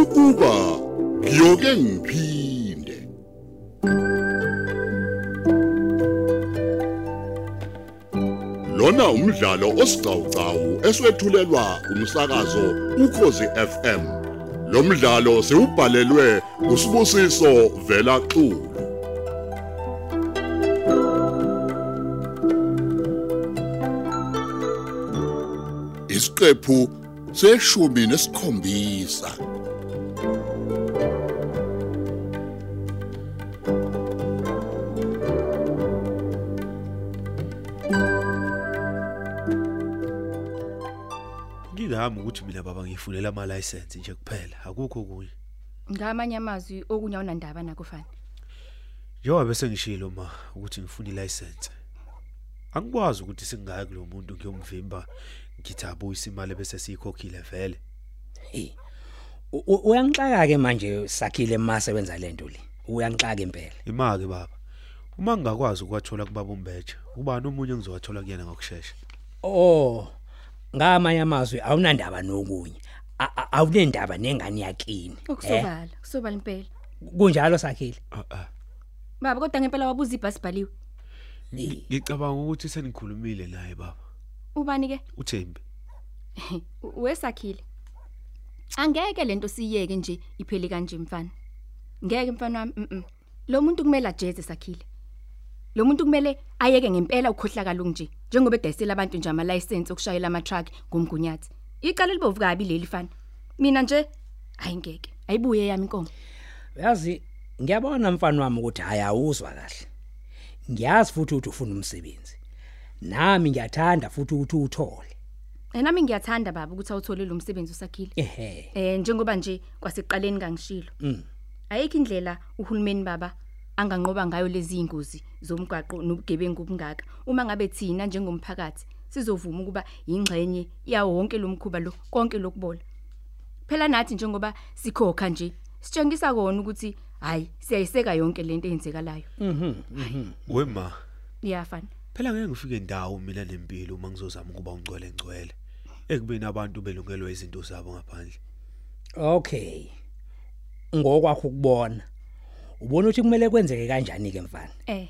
ukuba ngiyoke ngiphinde lona umdlalo osiqhawqhawo eswethulelwa umsakazo ukhozi FM lo mdlalo siubhalelwe usibusiso vela xulu isiqephu seshumi nesikhombisa ngingami ukuthi mina baba ngifunela ama license nje kuphela akukho kunye ngamanye amazwi okunye awunandaba nako fana njengoba bese ngishilo ma ukuthi ngifuna ilicense angikwazi ukuthi singaya kulo muntu ngiyomvimba ngithi abuyise imali bese siyikhokhile vele Eh. U- u- Uyangixaka ke manje sakhile emasebenza lento le. Uyangixaka impela. imake baba uma ngingakwazi ukwathola kubaba umbeja ubani omunye engizowathola kuyena ngokusheshsha Oh. Ngamanye amazwi awunandaba nokunye. A- a- Awunendaba nengane yakini. Eh, ukusobala kusobala impela Kunjalo sakhile. Ah, ah. baba kodwa ngempela wabuza ibhasi bhaliwe Eh. ngicabanga ukuthi senikhulumile naye baba ubani ke uthembi U- wesakhile angeke lento siyeke nje iphele kanje mfana ngeke mfana wami mm, mm. lo muntu kumele ajeze sakhile lo muntu kumele ayeke ngempela ukukhohlakala nje njengoba edayisela abantu nje ama license okushayela ama truck ngomgunyathi icala libovu kabi leli fana mina nje ayingeke ayibuye yami inkomo Yazi ngiyabona mfana wami ukuthi hayi awuzwa kahle. Ngiyazi futhi ukuthi ufuna umsebenzi. Nami ngiyathanda futhi ukuthi uthole. enami ngiyathanda baba ukuthi awuthole lo msebenzi usakhile Ehhe. eh njengoba nje kwaseqaleni ngangishilo ayikho indlela uhulumeni baba anganqoba ngayo lezi ingozi zomgwaqo nobugebengu obungaka uma ngabe thina njengomphakathi sizovuma ukuba ingxenye yawo wonke lo mkhuba lo konke lokubola phela nathi njengoba sikhokha nje sitshengisa kona ukuthi hayi siyayiseka yonke lento eyenzekalayo wema iyafana phela ngeke ngifike ndawo mina nempilo uma ngizozama ukuba ungcwele ngcwele ekubeni abantu belungelwe izinto zabo ngaphandle Okay. Ngokwakho ukubona. Ubona ukuthi kumele kwenzeke kanjani ke mfana? eh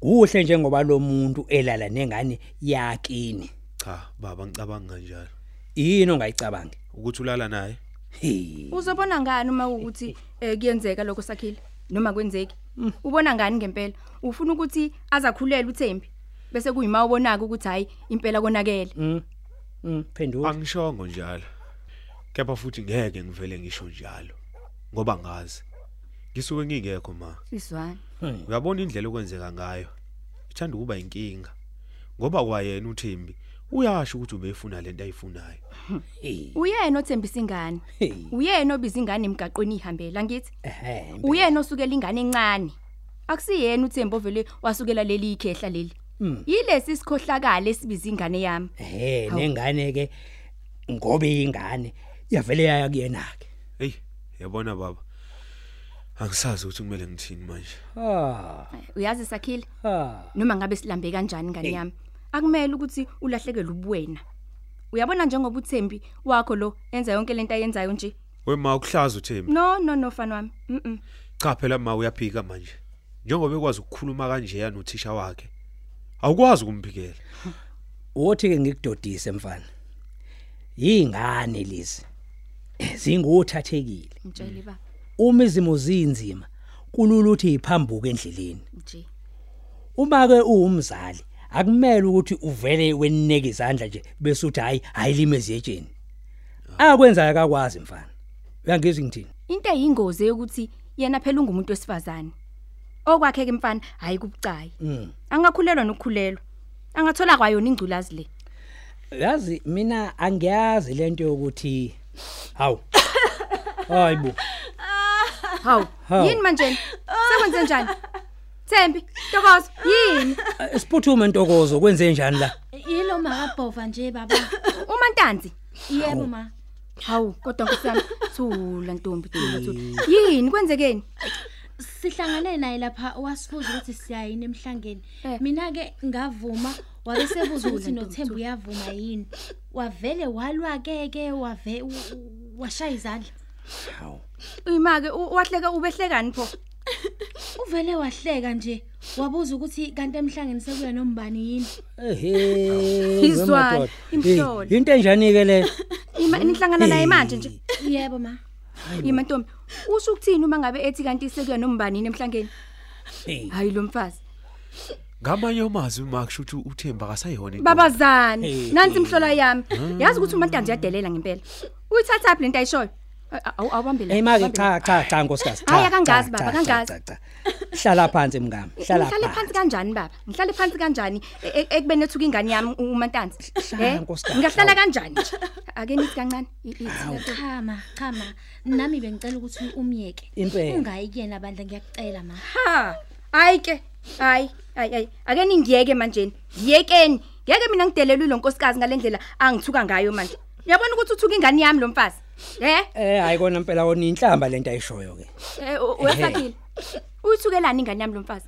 kuhle njengoba lo muntu elala nengane yakini cha baba ngicabanga kanjalo yini ongayicabangi ukuthi ulala naye Hey. Uzobona ngani uma ukuthi eh, kuyenzeka lokho sakhile noma kwenzeki? Ubona ngani ngempela? Ufuna ukuthi azakhulela uThembi bese kuyima ubonaka ukuthi hayi impela konakele. Mm, phendula angishongo njalo kepha futhi ngeke ngivele ngisho njalo ngoba ngazi ngisuke ngingekho ma Sizwana. uyabona indlela okwenzeka ngayo ithanda ukuba inkinga ngoba kwayena uThembi uyasho ukuthi ubefuna lento ayifunayo Hey. Uyena othembisa ingane. Hey. Uyena obiza ingane emgaqweni ihambela ngithi. Ehhe. Uyena osukela ingane encane. Akusiyena uThembi ovele wasukela leli ikhehla leli. Yilesi sikhohlakala esibiza ingane yami. Ehhe, nengane ke ngoba ingane yavele yaya kuyena ke. hey yabona baba angisazi ukuthi kumele ngithini manje Ah. Uyazi sakhile Ah. noma ngabe silambe kanjani ngani yami akumele ukuthi ulahlekelwe ubuwena uyabona njengoba uThembi wakho lo enza yonke lento ayenzayo nje wema ukuhlaza uThembi no no no fana wami mhm cha phela ma uyaphika manje njengoba ekwazi ukukhuluma kanje yanothisha wakhe awukwazi ukumphikela Uthi ke ngikudodise mfana. Yingane lezi. Zinguthathekile. mtshele baba Uma izimo zinzima kulula ukuthi iphambuke endleleni. nje uma ke uwumzali akumele ukuthi uvele wenike izandla nje bese uthi hayi ayilime ezetsheni akwenzayo akakwazi mfana uyangizwa ngithini into eyingozi ukuthi yena phela ungumuntu wesifazane okwakhe ke mfana hayi kubucayi Mm. angakhulelwa nokukhulelwa angathola kwayona ingculazi le yazi mina angiyazi lento yokuthi hawu hayibo hawu Hawu. yini manje sekwenze njani Thembi Ntokozo yini siphuthume ntokozo kwenze njani la Yilo makabhova nje baba. umantanzi Yebo ma. hawu kodwa nkosana thula ntombi thula thula yini kwenzekeni Sihlangane naye lapha wasibuza ukuthi siyayini emhlangeni. Eh. Mina ke ngavuma wabe sebuza ukuthi Thula, Ntombi, noThembu uyavuma yini. Wavele walwa ke ke wave u- u- washaya izandla. Hawu. Uyimake u- wahleka ubehlekani pho? Uvele wahleka nje wabuza ukuthi kanti emhlangeni sekuya nombani yini. Ehhe. Izwana, wemadoda. imhlolo. Eh, Into enjani ke le? Ima nihlangana naye manje nje. Yebo ma. Yima Ntombi, usho ukuthini uma ngabe ethi kanti sekuya nombani yini emhlangeni? Hey. Hayi lo mfazi. ngamanye amazwi makusho ukuthi uthemba kasayihona into. Babazani, nansi imhlola yami. Yazi ukuthi umuntu anje uyadelela ngempela. Uyithatha phi lento ayishoyo? Awubambele. Hey make cha cha cha nkosikazi. cha, Hhayi, akangazi, cha, baba, cha, akangazi. cha, cha, cha. Hlala phansi mngami. Hlala Ngihlale phansi kanjani baba? Ngihlale phansi kanjani e- e- ekubeni ethuka ingane yami u- uMantanzi? Hlala, Eh? nkosikazi, Ngiyahlala hlala. kanjani nje? Ake nithi kancane. i- ithi lento. Cha ma, cha ma. Nami bengicela ukuthi umyeke. Impela. Ungayi kuyena bandla ngiyakucela ma. Ha. Hayi ke. Hayi, hayi, hayi. Ake ningiyeke manje. Yekeni. Ngeke mina ngidelelwe lo nkosikazi ngalendlela angithuka ngayo manje. Uyabona ukuthi uthuka ingane yami lo mfazi? Eh? Eh hayi kona impela kona inhlamba lento ayishoyo ke. Eh, u- Uyasakile. Uyithukelani ingane yami lo mfazi?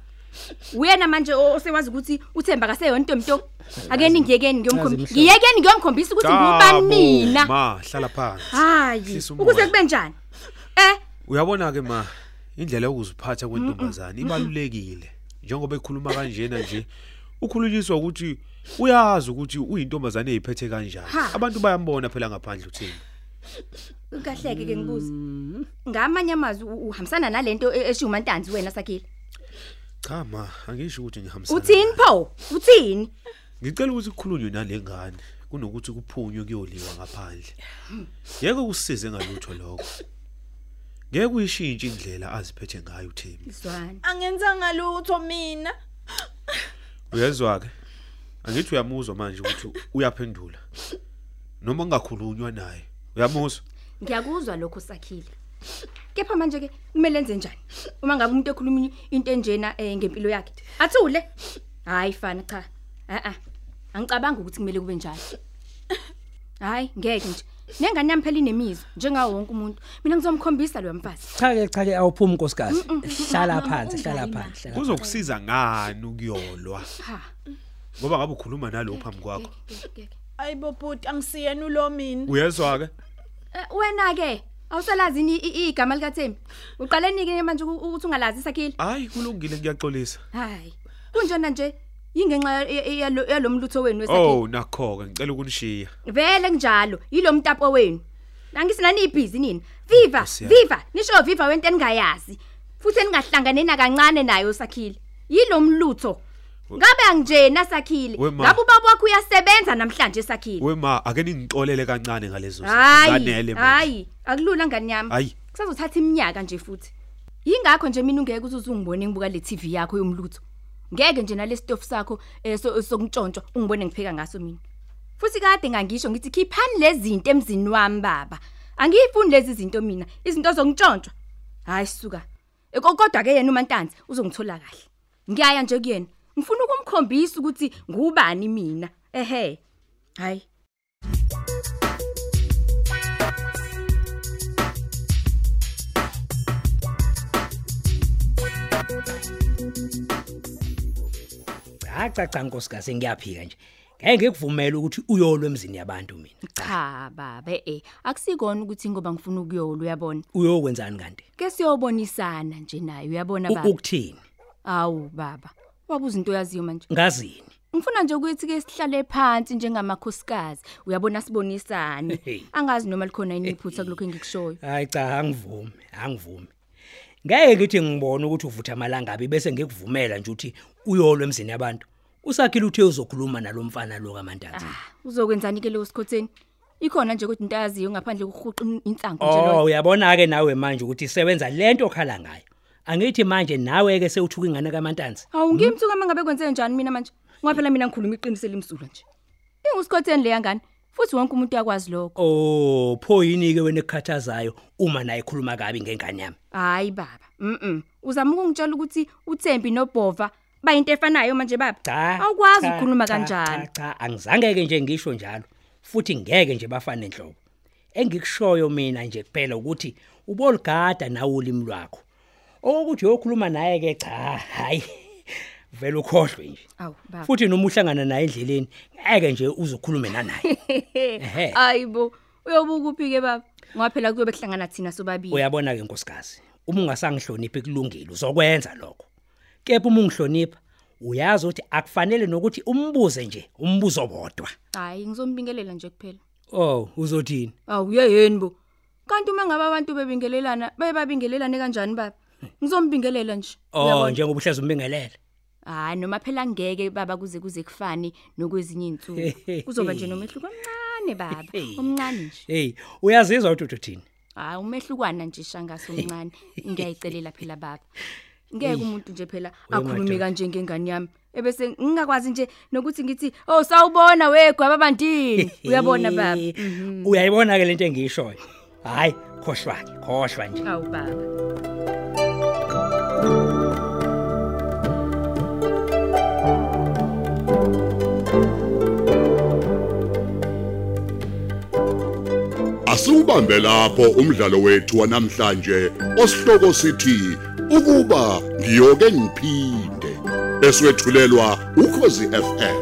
Uyena manje o- osewazi ukuthi uThemba kaseyona into mto. Ake ningiyekeni ngiyomkhombisa. Mhlobo. Ngiyekeni ngiyomkhombisa ukuthi Chabo, ngubani mina. ma hlala phansi Hayi, Hlisa umoya. ukuze kube njani? Eh, uyabona ke ma indlela yokuziphatha kwentombazana ibalulekile njengoba ekhuluma kanjena nje ukhulunyiswa ukuthi uyazi ukuthi uyintombazane eyiphethe kanjani Ha. abantu bayambona phela ngaphandle uthemba kahleke ke ngibuza. Ngamanye amazwi u- uhambisana nalento e- eshiya uMantanzi wena sakhile. cha ma angisho ukuthi ngihambisana Uthini naye. pho? Uthini? ngicela ukuthi kukhulunywe nale ngane kunokuthi kuphunywe kuyoliwa ngaphandle ngeke kusize ngalutho lokho ngeke uyishintshe indlela aziphethe ngayo uthemba Izwani. Angenzanga lutho mina. Uyezwa ke. Angithi uyamuzwa manje ukuthi uyaphendula. Noma kungakhulunywa naye, uyamuzwa. Ngiyakuzwa lokho sakhile. Kepha manje ke kumele enze njani? Uma ngabe umuntu ekhuluma into enjena eh, ngempilo yakhe. Athule. Hayi fana cha. Ah ah. Angicabangi ukuthi kumele kube njalo. Hayi ngeke nje. Nengane yami phela inemizwa njengawo wonke umuntu. Mina ngizomkhombisa lo mfazi. Cha ke cha ke awuphumi nkosikazi. Hlala Mama, phansi, hlala ungayi, ma. phansi, hlala. phansi. Kuzokusiza ngani ukuyolwa? Ha. Ngoba ngabe ukhuluma nalo phambi kwakho. Ayibo bhuti angisiyena ulo mina. Uyezwa ke? Eh, wena ke awusalazi ni i- i- igama likaThembi uqaleni ke manje uku- ukuthi ungalazi sakhile Hayi kulungile ngiyaxolisa. hayi kunjena nje ingenxa yalomlutho wenu wesakhile Oh nakho ke ngicela ukunishiya. vele kunjalo yilomtapo wenu nangisinani ibhizi nini viva Nkosi yami. viva nisho viva wento eningayazi futhi eningahlangane na kancane nayo sakhile yilomlutho ngabe angjena sakhile We ma. ngabe ubaba wakho uyasebenza namhlanje sakhile Wema ake ningixolele kancane ngalezo zinto. hayi Zanele manje. hayi akulula ngani yami Hayi. Kusazothatha iminyaka nje futhi. Yingakho nje mina ungeke uze ungibone ngibuka le TV yakho yomlutho. Ngeke nje nalesitofu sakho eso sokuntshontsha ungibone ngipheka ngaso mina. Futhi kade ngangisho ngithi khiphani lezi zinto emzini wami baba. Angiyifuni lezi zinto mina, izinto zokuntshontsha. Hayi suka. Ekokodwa ke yena uMantanzi uzongithola kahle. Ngiyaya nje kuyena. Ngifuna ukumkhombisa ukuthi ngubani mina. Ehhe. Hayi. Cha cha cha nkosikazi ngiyaphika nje. Ngeke ngikuvumele ukuthi uyolwe emzini yabantu mina. Cha baba eh akusikona ukuthi ngoba ngifuna ukuyolwa uyabona. Uyokwenzani kanti? ke siyobonisana nje naye uyabona U- baba Ukuthini? awu baba wabuza into yaziyo manje Ngazini? ngifuna nje ukuthi ke sihlale phansi njengamakhosikazi uyabona Hey. sibonisane angazi noma likhona yini iphutha kulokho engikushoyo Hayi cha angivumi, angivumi. Ngeke ngithi ngibone ukuthi uvutha amalangabi bese ngikuvumela nje ukuthi uyolwe emzini yabantu. Usakhile uthe uzokhuluma nalomfana lo kaMantanzi. ah uzokwenzani ke leyo sikhotheni ikhona nje kodwa into yaziyo ngaphandle kokuhuqa insango nje Oh lo uyabona ke nawe manje ukuthi isebenza lento okhala ngayo. Angithi manje nawe ke sewuthuka ingane kaMantanzi. awungimthuka mangabe kwenze njani mina manje ngoba phela mina ngikhuluma iqinisele imsulwa nje ingusikhotheni leya ngani futhi wonke umuntu uyakwazi lokho Oh pho yini ke wena ekukhathazayo uma naye ekhuluma kabi ngengane yami. hayi baba mhm uzama ukungitshela ukuthi uThembi noBhova bayinto efanayo manje baba Cha. awukwazi cha, ukukhuluma cha, kanjalo Cha, cha angizange ke nje ngisho njalo. Futhi ngeke nje bafane enhlobo. Engikushoyo mina nje kuphela ukuthi uboligada nawo ulimi lwakho. Okuthi uyokhuluma naye ke cha, hayi. Vele ukhohlwe nje. Awu baba. Futhi noma uhlangana naye endleleni, ngeke nje uzokhuluma naye. Hayibo, uyobuka uphi ke baba? ngoba phela kuyobe kuhlangana thina sobabili Uyabona ke nkosikazi, uma ungasangihloniphi kulungile uzokwenza lokho. Kepha uma ungihlonipha, uyazi ukuthi akufanele nokuthi umbuze nje umbuzo bodwa. hayi ngizombingelela nje kuphela Oh, uzothini? awuye yeni bo kanti uma ngabe abantu bebingelelana baye babingelelane kanjani baba ngizombingelela nje Oh, njengoba uhlezi umbingelele. hayi noma phela ngeke baba kuze kuze kufane nokwezinye insuku kuzoba nje nomehluko omncane baba omncane nje Hey, uyazizwa ukuthi uthini? hayi umehlukwana nje shangaso omncane ngiyayicelela phela baba ngeke umuntu nje phela akhulume kanje ngengane yami ebese ngingakwazi nje nokuthi ngithi oh sawubona wegwa babandini uyabona baba Mhm. Uyayibona ke lento engiyishoyo. Hayi, khohlwa, khohlwa nje. awu baba Asubambe lapho umdlalo wethu wanamhlanje osihloko sithi ukuba ngiyoke ngiphinde eswetshulelwa ukhozi FM